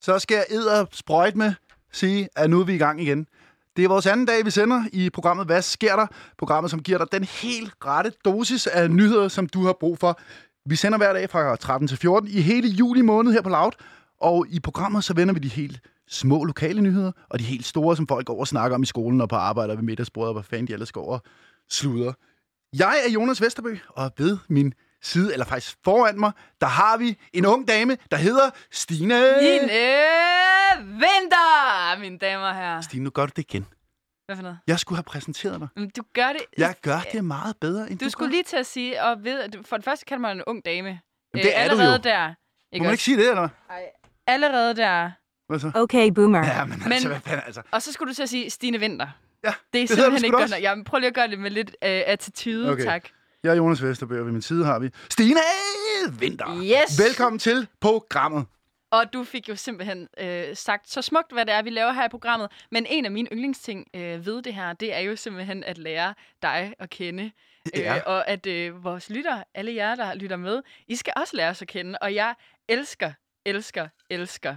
så skal jeg edder sprøjt med sige, at nu er vi i gang igen. Det er vores anden dag, vi sender i programmet Hvad sker der? Programmet, som giver dig den helt rette dosis af nyheder, som du har brug for. Vi sender hver dag fra 13 til 14 i hele juli måned her på Loud. Og i programmet, så vender vi de helt små lokale nyheder, og de helt store, som folk går og snakker om i skolen og på arbejde og ved middagsbordet, og hvor fanden de ellers går og sluder. Jeg er Jonas Vesterbø, og ved min side, eller faktisk foran mig, der har vi en ung dame, der hedder Stine. Line øh, Vinter, mine damer og herrer. Stine, nu gør du det igen. Hvad for noget? Jeg skulle have præsenteret dig. Jamen, du gør det. Jeg gør det meget bedre, end du, Du skulle gør. lige til at sige, og ved, at du- for det første kalder man en ung dame. Øh, det er du allerede jo. der. Må man også? ikke sige det, eller hvad? Allerede der. Hvad så? Okay, boomer. Ja, men, men altså, Men- hvad fanden, altså. Og så skulle du til at sige Stine Vinter. Ja, Det hedder er du simpelthen sgu ikke da godt også. nok. Jamen, prøv lige at gøre det med lidt øh, attitude, Okay. tak. Jeg er Jonas Vesterbø, og ved min side har vi Stine Vinter. Yes. Velkommen til programmet. Og du fik jo simpelthen øh, sagt så smukt, hvad det er, vi laver her i programmet. Men en af mine yndlingsting øh, ved det her, det er jo simpelthen at lære dig at kende. Ja. og at øh, vores lytter, alle jer, der lytter med, I skal også lære os at kende. Og jeg elsker, elsker, elsker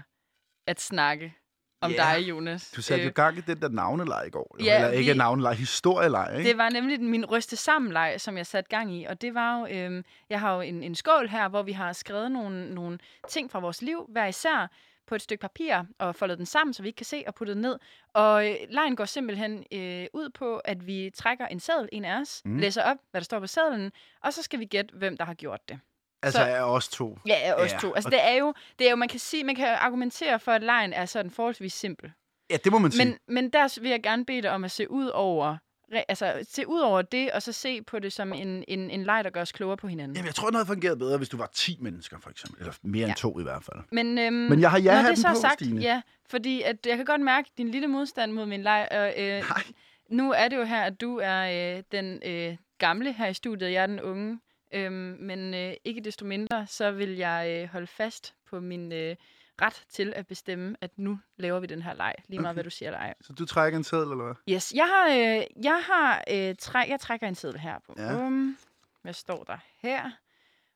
at snakke om Ja. dig, Jonas. Du satte jo Øh, gang i den der navneleje i går. jo. ja, eller ikke vi- navneleje, historieleje, ikke? det var nemlig min ryste sammenleg, som jeg satte gang i, og det var jo, øhm, jeg har jo en, en skål her, hvor vi har skrevet nogle, nogle ting fra vores liv, hver især, på et stykke papir, og foldet den sammen, så vi ikke kan se, og puttet den ned. Og øh, lejen går simpelthen øh, ud på, at vi trækker en seddel, en af os, Mm. mm. læser op, hvad der står på sedlen, og så skal vi gætte, hvem der har gjort det. altså, så- jeg er også to. Ja, ja os Ja, to. Altså, og- det er jo, det er jo, man kan sige, man kan argumentere for, at lejen er sådan forholdsvis simpel. Ja, det må man sige. Men, men der vil jeg gerne bede dig om at se ud over, re- altså, se ud over det, og så se på det som en, en, en leg, der gør os klogere på hinanden. Jamen, jeg tror, det havde fungeret bedre, hvis du var 10 mennesker, for eksempel. Eller mere end Ja. to i hvert fald. Men, øhm, Men jeg har når ja-hatten det så er på, sagt, Stine. Ja, fordi at, jeg kan godt mærke din lille modstand mod min leg. Og, øh, Nej. nu er det jo her, at du er øh, den øh, gamle her i studiet, jeg er den unge. Øhm, men øh, ikke desto mindre, så vil jeg øh, holde fast på min øh, ret til at bestemme, at nu laver vi den her leg. Lige meget, Okay. okay. hvad du siger eller ej. Så du trækker en sædel, eller hvad? Yes, jeg har, øh, jeg har øh, træk, jeg trækker en seddel her. Bum, Ja. bum. Hvad står der her?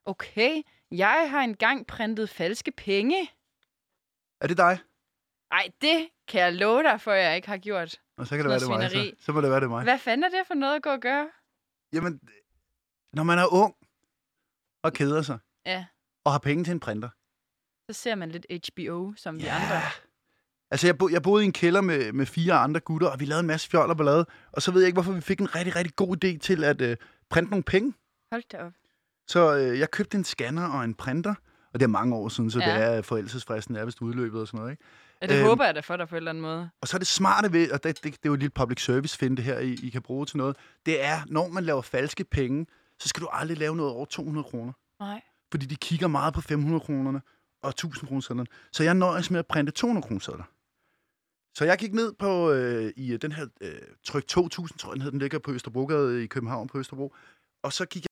Okay, jeg har engang printet falske penge. Er det dig? Ej, det kan jeg love dig, for jeg ikke har gjort. Og så kan det være, det er mig. Noget Så. svineri. så må det være, det er mig. Hvad fanden er det for noget at gå og gøre? Jamen, når man er ung og keder sig, Ja. og har penge til en printer. Så ser man lidt HBO, som vi Ja. andre. Altså, jeg, bo, jeg boede i en kælder med, med fire andre gutter, og vi lavede en masse fjol og ballade. Og så ved jeg ikke, hvorfor vi fik en rigtig, rigtig god idé til at øh, printe nogle penge. Hold da op. Så øh, jeg købte en scanner og en printer. Og det er mange år siden, så ja. Ja. det er at forældelsesfristen er vist udløbet og sådan noget. Ikke? Ja, det Øhm. øhm. håber jeg da for dig på en eller anden måde. Og så er det smarte ved, og det, det, det er jo et lille public service finde det her, I, I kan bruge til noget, det er, når man laver falske penge, så skal du aldrig lave noget over 200 kroner. Nej. Fordi de kigger meget på 500 kronerne og 1000 kroner sædlerne. Så jeg nøjes med at printe 200 kroner sædler. Så jeg gik ned på øh, i øh, den her øh, tryk 2000, tror jeg den hed, den ligger på Østerbrogade i København på Østerbro. Og så gik